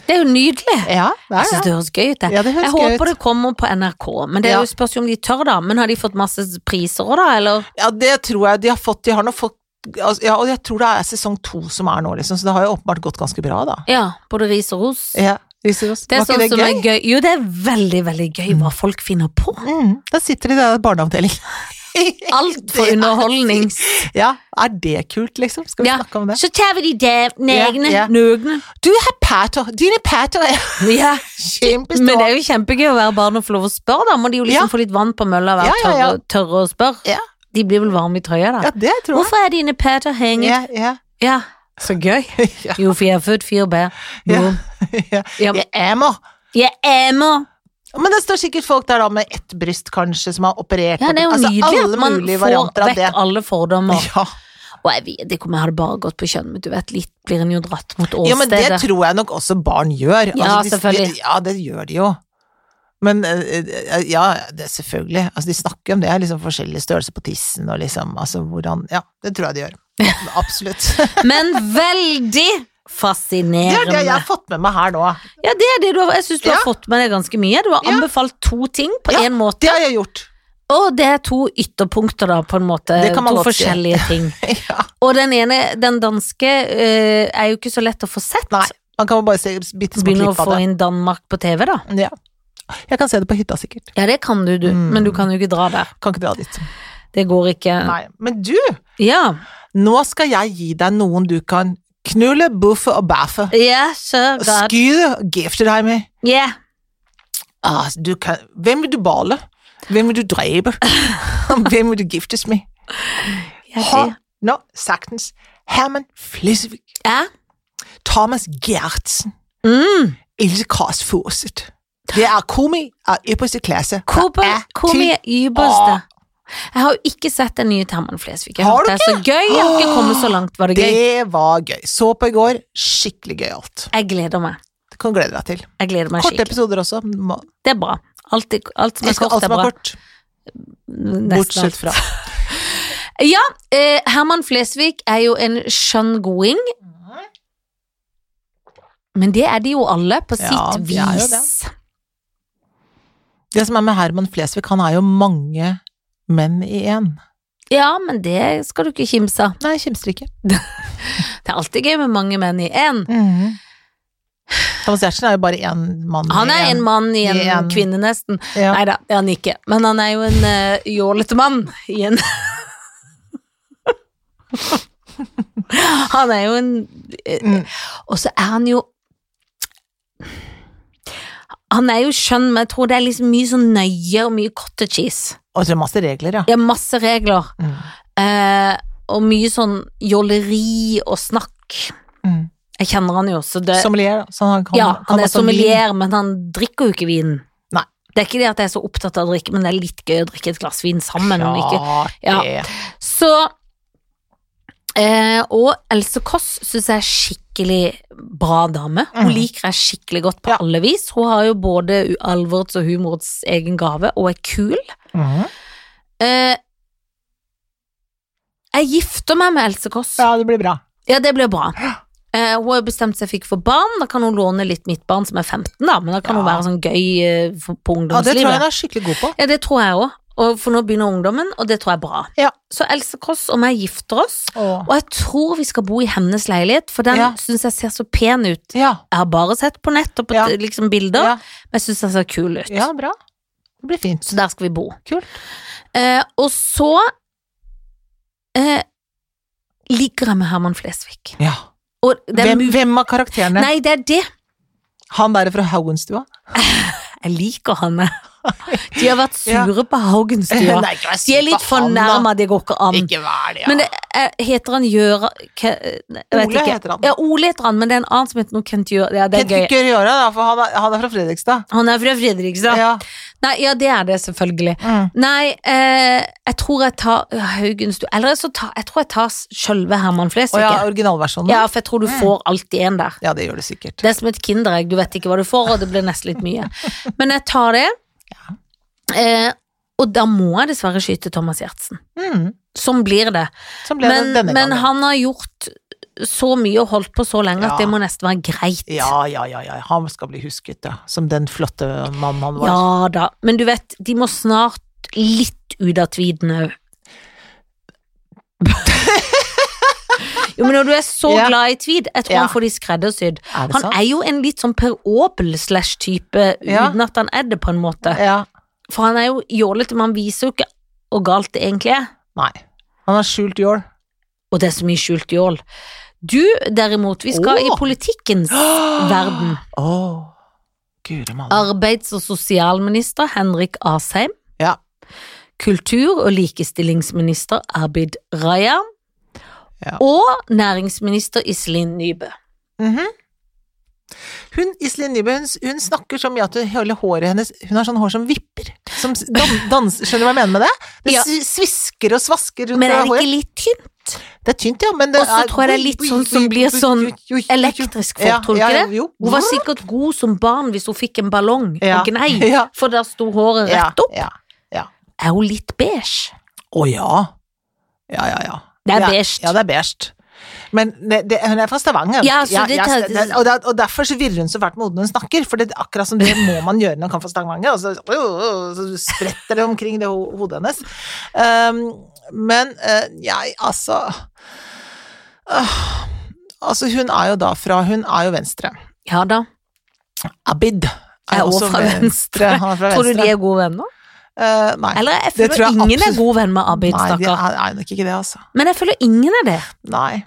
Det er jo nydelig. Ja, det Jeg er syns det. det høres gøy ut, det. Ja, det Jeg høres gøy håper ut. det kommer på NRK, men det er Ja. jo spørs jo om de tør, da. Men har de fått masse priser òg, da, eller? Ja, det tror jeg de har fått, de har nå fått altså, ja, og jeg tror det er sesong to som er nå, liksom, så det har jo åpenbart gått ganske bra, da. Ja, både ris og ros. Ja, Lise Ross, Det er var sånn ikke det som gøy? er gøy. Jo, det er veldig, veldig gøy hva folk finner på. Mm, da sitter de i den barneavdelingen. Alt for Det er- underholdning. Ja, er det kult, liksom? Skal vi Ja. snakke om det? Så tar vi de der negne, Ja, ja. nøgne. Du har patter! Dine patter er Ja. Men det kjempestore! er jo kjempegøy å være barn og få lov å spørre, da. Må de jo liksom Ja. få litt vann på mølla og være Ja, ja, ja. tørre, tørre å spørre. Ja. De blir vel varme i trøya, da. Ja, det tror jeg. Hvorfor er dine patter hengt? Ja, ja. Ja. Så gøy. Ja. Jo, for jeg er født fire bær. Ja. Jo. ja. Ja, men- Jeg er med. Jeg ammer! Men det står sikkert folk der da med ett bryst, kanskje, som har operert Ja, det er jo altså, nydelig at alle man mulige får varianter av vekk det. alle fordommer. Ja. Og jeg vet ikke om jeg hadde bare gått på kjønn, men du vet, litt blir en jo dratt mot ja, men det åstedet. tror jeg nok også barn gjør. Altså, Ja, de- selvfølgelig. Ja, det gjør de jo. Men eh, eh, ja, det er selvfølgelig. Altså, de snakker jo om det, liksom forskjellige størrelser på tissen og liksom altså hvordan Ja, det tror jeg de gjør. Absolutt. men veldig Det er fascinerende. det jeg har fått med meg her nå. Ja, det er det du har, jeg syns du Ja. har fått med deg ganske mye. Du har Ja. anbefalt to ting på Ja. én måte, Det har jeg gjort. og det er to ytterpunkter, da, på en måte. Det kan man To godt si. forskjellige ting. Ja. Og den ene, den danske, eh, er jo ikke så lett å få sett. Nei, man kan jo bare se bitte små Begynner å klipp av få det. inn Danmark på TV, da. Ja. Jeg kan se det på hytta, sikkert. Ja, det kan du, du, Mm. men du kan jo ikke dra der. Kan ikke dra dit. Det går ikke. Nei. Men du, Ja, nå skal jeg gi deg noen du kan knulle, buffe og baffe. yeah, sure, God. Skyde og gifte deg med. Yeah. Ah, du kan, hvem vil du bale? Hvem vil du drepe? hvem vil du giftes med? Jeg Ha, sier- nå, sagtens. Herman Flesvig. Ja. Thomas Gjertsen. Mm. Else Kåss Furset. Det er komi av ypperste klasse. fra Kobe, A til kom i Åh. ypperste. Jeg har jo ikke sett den nye Terman Flesvig. Jeg Har hørte det du er så gøy. Jeg har ikke kommet så langt. Var det gøy? Det var gøy. Så på i går. Skikkelig gøyalt. Jeg gleder meg. Det kan du glede deg til. Jeg gleder meg Korte skikkelig. episoder også. Må- Det er bra. Alt, i- alt som er Jeg skal kort, alt er som er bra. kort. Nesten Bortsett alt. fra Ja, eh, Herman Flesvig er jo en skjønn goding. Men det er de jo alle, på sitt Ja, de er jo vis. Det som er med Herman Flesvig, han er jo mange menn i én. Ja, men det skal du ikke kimse av. Nei, kimser ikke. Det er alltid gøy med mange menn i én. Thomas Giertsen er jo bare én mann Han er i en mann i en I en- kvinne, nesten. Ja. Nei da, det er han ikke. Men han er jo en eh, jålete mann igjen. han er jo en eh, Mm. Og så er han jo han er jo skjønn, men jeg tror det er liksom mye sånn nøye og mye cottage cheese. Og så er det masse regler, ja. Det er masse regler, Mm. eh, og mye sånn jåleri og snakk. Mm. Jeg kjenner han jo, så det Sommelier, da. Så han kan, Ja, kan han er også vin. sommelier, men han drikker jo ikke vin. Nei. Det er ikke det at jeg er så opptatt av å drikke, men det er litt gøy å drikke et glass vin sammen. om ikke Klart Ja. det. Så eh, Og Else Kåss syns jeg er skikkelig bra dame. Hun Mhm. liker jeg skikkelig godt på Ja. alle vis. Hun har jo både u- alvorets og humorets egen gave, og er kul. Mhm. Eh, jeg gifter meg med Else Kåss. Ja. Ja, det blir bra. det blir bra. Eh, hun har jo bestemt seg for ikke for barn. Da kan hun låne litt mitt barn, som er 15, da, men da kan hun Ja. være sånn gøy eh, for- på Ja, det ungdomslivet. tror jeg han er skikkelig god på. Ja, det tror jeg òg. Og for nå begynner ungdommen, og det tror jeg er bra. Ja. Så Else Kåss og meg gifter oss, Åh. og jeg tror vi skal bo i hennes leilighet, for den Ja. synes syns jeg ser så pen ut. Ja. Jeg har bare sett på nett og på Ja. t- liksom bilder, Ja. men jeg syns den ser kul ut. ja, bra. Det blir fint. Så der skal vi bo. Kult. Eh, og så eh, ligger jeg med Herman Flesvig. Ja. Og det er Hvem, mu- hvem av karakterene? Nei, det er det. Han der fra Haugenstua? Jeg liker han. jeg. De har vært Ja. sure på Haugenstua. Nei, ikke vær De sur er på litt han, da. fornærma, det går ikke an. Ikke vær det, ja. Men det, er- heter han Gjøra Ke- eh, nei, jeg vet Ole ikke. heter han. Ja, Ole heter han, men det er en annen som heter noe Kent Gjøra. Ja, det er Kent gøy. Ikke gjøre det, da, for han er, han er fra Fredrikstad. Han er fra Fredrikstad. Ja. Nei, ja, det er det selvfølgelig. Mm. Nei, eh, jeg tror jeg tar ja, Haugenstua Eller så tar, jeg tror jeg tar sjølve Herman Og Flesvig. ja, Mm. jeg. originalversjonen. Ja, for jeg tror du får alltid en der. Ja, det gjør det sikkert. Det er som et kinderegg, du vet ikke hva du får, og det blir nesten litt mye. Men jeg tar det. Eh, og da må jeg dessverre skyte Thomas Giertsen. Mm. Sånn blir det. Sånn ble Men, det denne men gangen. han har gjort så mye og holdt på så lenge at Ja. det må nesten være greit. Ja, ja, ja, ja, han skal bli husket, ja. Som den flotte mannen han var. Ja da. Men du vet, de må snart litt ut av tviden òg. Jo, men når du er så Ja. glad i tweed, jeg tror Ja. han får de skreddersydd. Er det Han sant? er jo en litt sånn Per Obel-slash-type, Ja. uten at han er det, på en måte. Ja. For han er jo jålete, men han viser jo ikke hvor galt det egentlig er. Nei. Han har skjult jål. Og det er så mye skjult jål. Du, derimot, vi skal i Åh. politikkens verden. Å, guri malla. Arbeids- og sosialminister Henrik Asheim. Ja. Kultur- og likestillingsminister Abid Raja. Ja. Og næringsminister Iselin Nybø. Mhm. Hun, Iselin Nybø, hun, hun snakker så mye at hun- hele håret hennes Hun har sånn hår som vipper. Som s- dan, dans, skjønner du hva jeg mener med det? Det Ja. s- svisker og svasker rundt Men er det det håret. ikke litt tynt? Det er tynt, ja, men det Og så tror jeg det er litt sånn som blir sånn Elektrisk folk, tror du ikke det? Jo. Hun var sikkert god som barn hvis hun fikk en ballong Ja. og gnei, Ja. for der sto håret Ja, rett opp. Ja. Er hun litt beige? Å ja. Ja, ja, ja. Det er ja, beige. Ja, det er beige. Men det, det, hun er fra Stavanger, Ja, så det jeg- tar- det- og, der, og derfor så virrer hun så fælt med hodet når hun snakker, for det er akkurat som det må man gjøre når man kommer fra Stavanger, og så, øh, øh, så spretter det omkring det ho- hodet hennes. Ehm, men eh, jeg, altså øh, Altså, hun er jo da fra Hun er jo venstre. Ja da. Abid Er også fra venstre. Han er fra Tror du venstre. de er gode venner? Eh, nei. Eller jeg Det føler tror jeg ingen er absolutt- god venn med Abid, Nei, de stakkar. er, er nok ikke det, altså. Men jeg føler ingen er det. Nei.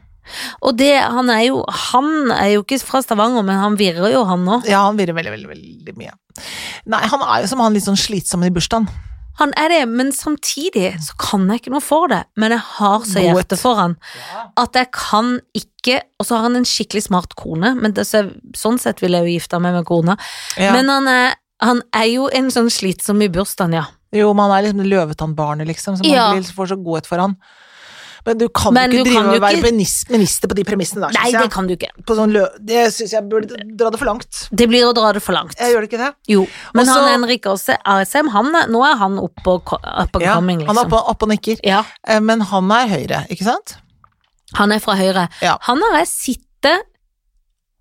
Og det, han er jo Han er jo ikke fra Stavanger, men han virrer jo, han òg. Ja, han virrer veldig, veldig, veldig mye. Nei, han er jo som han litt sånn slitsom i bursdagen. Han er det, men samtidig så kan jeg ikke noe for det. Men jeg har så Godhet. hjerte for han at jeg kan ikke Og så har han en skikkelig smart kone, men det, så, sånn sett ville jeg jo gifta meg med kona. Ja. Men han er, han er jo en sånn slitsom i bursdagen, ja. jo, men han er liksom løvetannbarnet, liksom, som Ja. man blir, får så godhet for han. Men du kan Men jo du ikke drive kan jo og være ikke- benis- minister på de premissene der, Nei, syns det jeg. kan du ikke. På sånn lø... Det syns jeg burde dra det for langt. Det blir å dra det for langt. Jeg gjør det ikke det? Jo. Men Også- han Henrik Aasheim, Aasheim, han er- nå er han oppe og ko- up and Ja, coming, Han er liksom. oppe opp og nikker. Ja, Eh, Men han er høyre, ikke sant? han er fra Høyre. Ja. Han har jeg sittet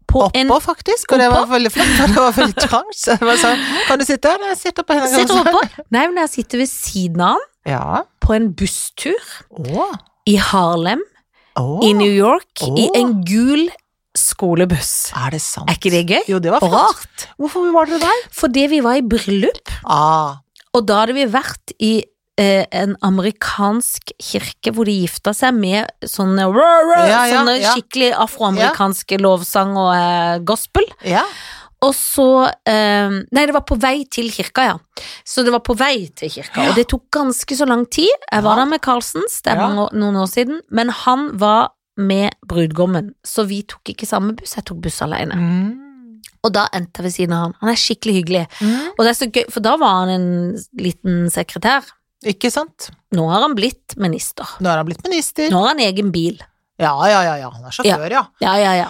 på en Oppå, faktisk. Og det var veldig flott, for det var veldig trangt. Så jeg bare sa kan du sitte her? Nei, jeg sitter på henne. Sitter hun på? Nei, men jeg sitter ved siden av han Ja. på en busstur Å. i Harlem, Å. i New York, Åh. i en gul skolebuss. Er det sant? Er ikke det gøy? Jo, det var Og flott. rart. Hvorfor var dere der? Fordi vi var i bryllup, Ah, og da hadde vi vært i eh, en amerikansk kirke hvor de gifta seg med sånne, Ja, ja, sånne ja. skikkelig afroamerikanske lovsang og eh, gospel. ja. Og så eh, Nei, det var på vei til kirka, ja. Så det var på vei til kirka, og det tok ganske så lang tid. Jeg var Ja. der med Carlsens, det er Ja. mange år- noen år siden, men han var med brudgommen, så vi tok ikke samme buss, jeg tok buss alene. Mm. Og da endte jeg ved siden av han. Han er skikkelig hyggelig. Mm. Og det er så gøy, for da var han en liten sekretær. Ikke sant? Nå har han blitt minister. Nå har han blitt minister. Nå har han egen bil. Ja, ja, ja, ja. Han er sjåfør, ja. Ja, ja, ja.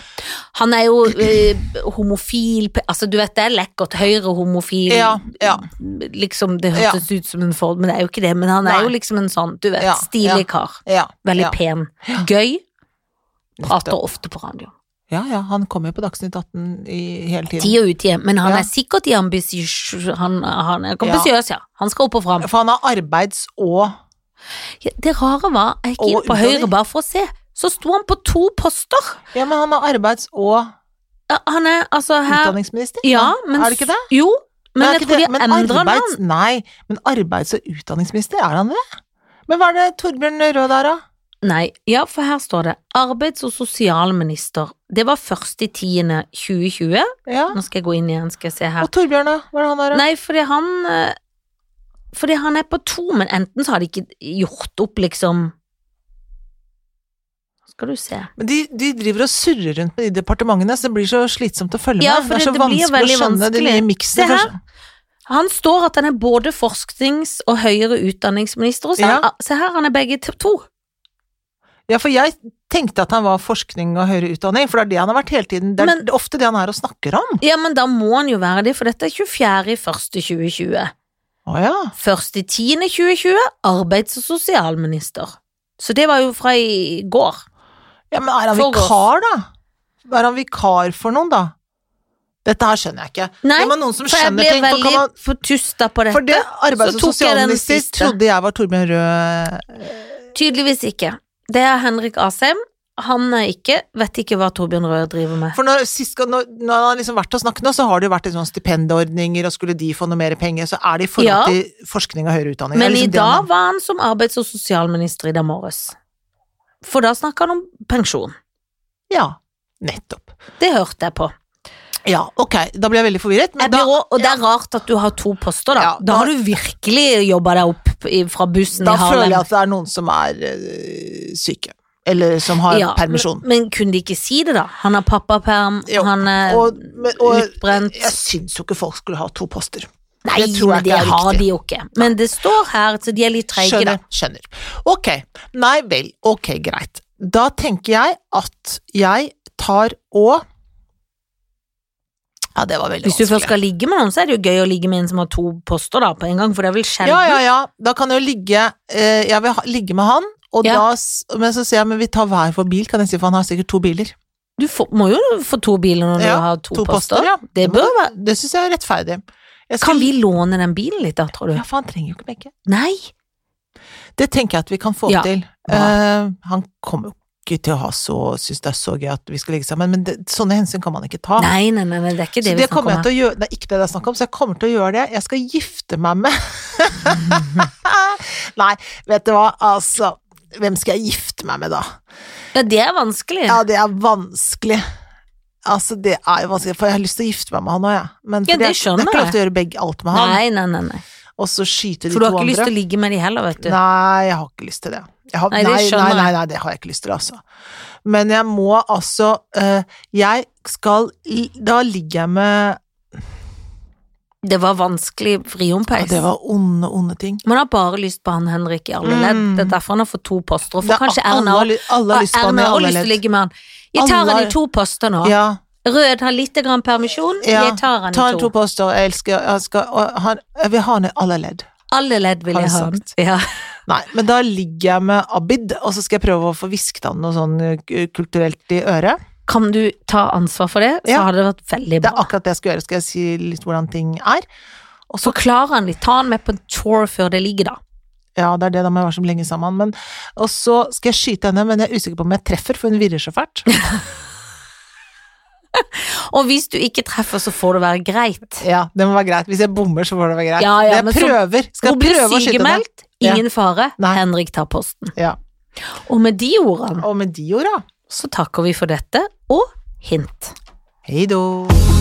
Han er jo eh, homofil pe- Altså, du vet, det er lekkert. Høyre homofil. Ja, ja. Liksom, det hørtes ut som en Ford, men det er jo ikke det. Men han er Nei. jo liksom en sånn, du vet, Ja, ja. stilig kar. ja, Veldig ja. pen. Gøy. Prater Nettopp. ofte på radio. Ja, ja, han kommer jo på Dagsnytt 18 i, hele tiden. Tid og utid, men han Ja. er sikkert i ambisiøs Han, han er ambisiøs, ja. Han skal opp og fram. For han har arbeids- og Ja, Det rare var, jeg gikk Og inn på utdanning. høyre bare for å se, så sto han på to poster. Ja, men han har arbeids- og Ja, Han er altså her utdanningsminister? Ja, men Er det ikke det? s- Jo, men Er jeg ikke tror det- de men endrer den. arbeids- Nei, men arbeids- og utdanningsminister, er han det? Men hva er det Torbjørn Røe der, da? Nei, ja, for her står det arbeids- og sosialminister. Det var 1.10.2020. Ja. Nå skal jeg gå inn igjen, skal jeg se her. Og Torbjørn, da? Hva er det han der? da? Nei, fordi han eh, Fordi han er på to, men enten så har de ikke gjort opp, liksom Skal du se. Men de, de driver og surrer rundt med de departementene, så det blir så slitsomt å følge Ja, med. for Det er så det blir jo vanskelig å veldig skjønne de vanskelig. nye miksene. Se her. for- Han står at han er både forsknings- og høyere utdanningsminister, og så Ja. han, se her, han er begge t- to. Ja, for jeg tenkte at han var forskning og høyere utdanning, for det er det han har vært hele tiden. Det er Men- det er ofte det han er og snakker om. Ja, men da må han jo være det, for dette er 24.1.2020. Å ja. 1.10.2020, arbeids- og sosialminister. Så det var jo fra i går. Ja, men er han Foregås. vikar, da? Er han vikar for noen, da? Dette her skjønner jeg ikke. Nei, det må noen som For jeg skjønner ble ting. For, veldig kan man, fortusta på dette. for det arbeids- og så tok jeg den sosialminister siste. trodde jeg var Torbjørn Røe Tydeligvis ikke. Det er Henrik Asheim. Han er ikke Vet ikke hva Torbjørn Røe driver med. For når, sist, gang- når, når han har liksom vært og snakket nå, så har det jo vært liksom stipendordninger, og skulle de få noe mer penger, så er det i forhold Ja. til forskning og høyere utdanning. Det er Men i liksom det han- dag var han som arbeids- og sosialminister i dag morges. For da snakka han om pensjon. Ja, nettopp. Det hørte jeg på. Ja, ok, da blir jeg veldig forvirret. Men Jeg blir da, også, og det er rart at du har to poster, da. Ja, da, har da- du virkelig jobba deg opp i, fra bussen da i føler Harlem. jeg at det er noen som er øh, syke, eller som har Ja, permisjon. Men, men kunne de ikke si det, da? Han har pappaperm, Jo, han er og, men, og utbrent jeg syns jo ikke folk skulle ha to poster. Nei, det tror jeg men det ikke er har riktig. de jo ikke. Men det står her, så de er litt treige, da. Skjønner. skjønner. Ok. Nei vel. Ok, greit. Da tenker jeg at jeg tar og Ja, det var veldig Hvis du vanskelig. først skal ligge med noen, så er det jo gøy å ligge med en som har to poster da, på en gang, for det er vel sjelden. Ja, ja, ja. Da kan jeg jo ligge eh, Jeg vil ha, ligge med han, og Ja. da s- Men så sier jeg men vi tar hver vår bil, kan jeg si, for han har sikkert to biler. Du får, må jo få to biler når Ja, du har to, To poster. poster, ja. Det må bør du- Det syns jeg er rettferdig. Jeg skal- Kan vi låne den bilen litt, da, tror du? Ja, for han trenger jo ikke begge. Nei! Det tenker jeg at vi kan få Ja. til. Eh, han kommer jo ikke til å ha så synes det er så gøy at vi skal ligge sammen, men det, sånne hensyn kan man ikke ta. Nei, nei, nei, nei, det er ikke Ah. det Så det vi snakker kommer om jeg her. til å gjøre, det er ikke det det er snakk om, så jeg kommer til å gjøre det. Jeg skal gifte meg med Nei, vet du hva, altså. Hvem skal jeg gifte meg med, da? Ja, det er vanskelig. Ja, det er vanskelig. Altså, det er jo vanskelig, for jeg har lyst til å gifte meg med han òg, jeg. Men Ja, fordi det jeg- skjønner Det er ikke lov jeg. til å gjøre begge alt med han, nei, nei, nei, nei. og så skyte de For du to har ikke lyst andre. til å ligge med de heller, vet du. Nei, jeg har ikke lyst til det. Jeg har, Nei, nei, det nei, skjønner nei, nei, jeg. det har jeg ikke lyst til, altså. Men jeg må altså eh, Jeg skal i- Da ligger jeg med Det var vanskelig ja, friompeis. Det var onde, onde ting. Man har bare lyst på han Henrik i alle ledd. Mm. Det er derfor han har fått to poster. Og Det for er kanskje alle Erna har også- ly- alle har lyst på han i Erna har også alle lyst til å ledd. ligge med han. Jeg tar Alle han har- i to poster nå. Ja, Rød har lite grann permisjon. ja. Jeg tar han Ta i to. en to poster. Jeg elsker jeg, skal, og han, jeg vil ha han i alle ledd. Alle ledd vil Har jeg du ha han. sagt? Ja. Nei, men da ligger jeg med Abid, og så skal jeg prøve å få hvisket han noe sånn eh, k- kulturelt i øret. Kan du ta ansvar for det, så Ja. hadde det vært veldig Det er bra. akkurat det jeg skal gjøre. Skal jeg si litt hvordan ting er? Og så Forklar han litt. Ta han med på en tour før det ligger, da. Ja, det er det, da må jeg være så lenge sammen. Men, og så skal jeg skyte henne, men jeg er usikker på om jeg treffer, for hun virrer så fælt. Og hvis du ikke treffer, så får det være greit. Ja, det må være greit. Hvis jeg bommer, så får det være greit. Ja, ja, men jeg så- prøver. Skal Hun jeg blir prøve å skyte henne? sykemeldt. Ingen fare. Nei. Henrik tar posten. Ja. Og med de ordene Og med de orda, så takker vi for dette, og hint. hei då.